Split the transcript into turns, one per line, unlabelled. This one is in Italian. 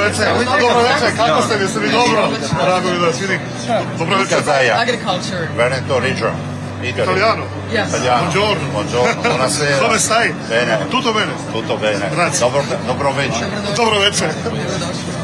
večer. Dobro večer, kako ste, jeste li dobro? Drago mi da vas vidim. Dobro večer.
Casaia,
Agriculture.
Veneto Region, Italy.
Italiano.
Yes.
Italiano.
Buongiorno.
Buongiorno, buonasera.
Come stai?
Bene.
Tutto bene?
Tutto bene.
Grazie.
Dobro, dobro večer.
Dobro večer.
Dobrodošli.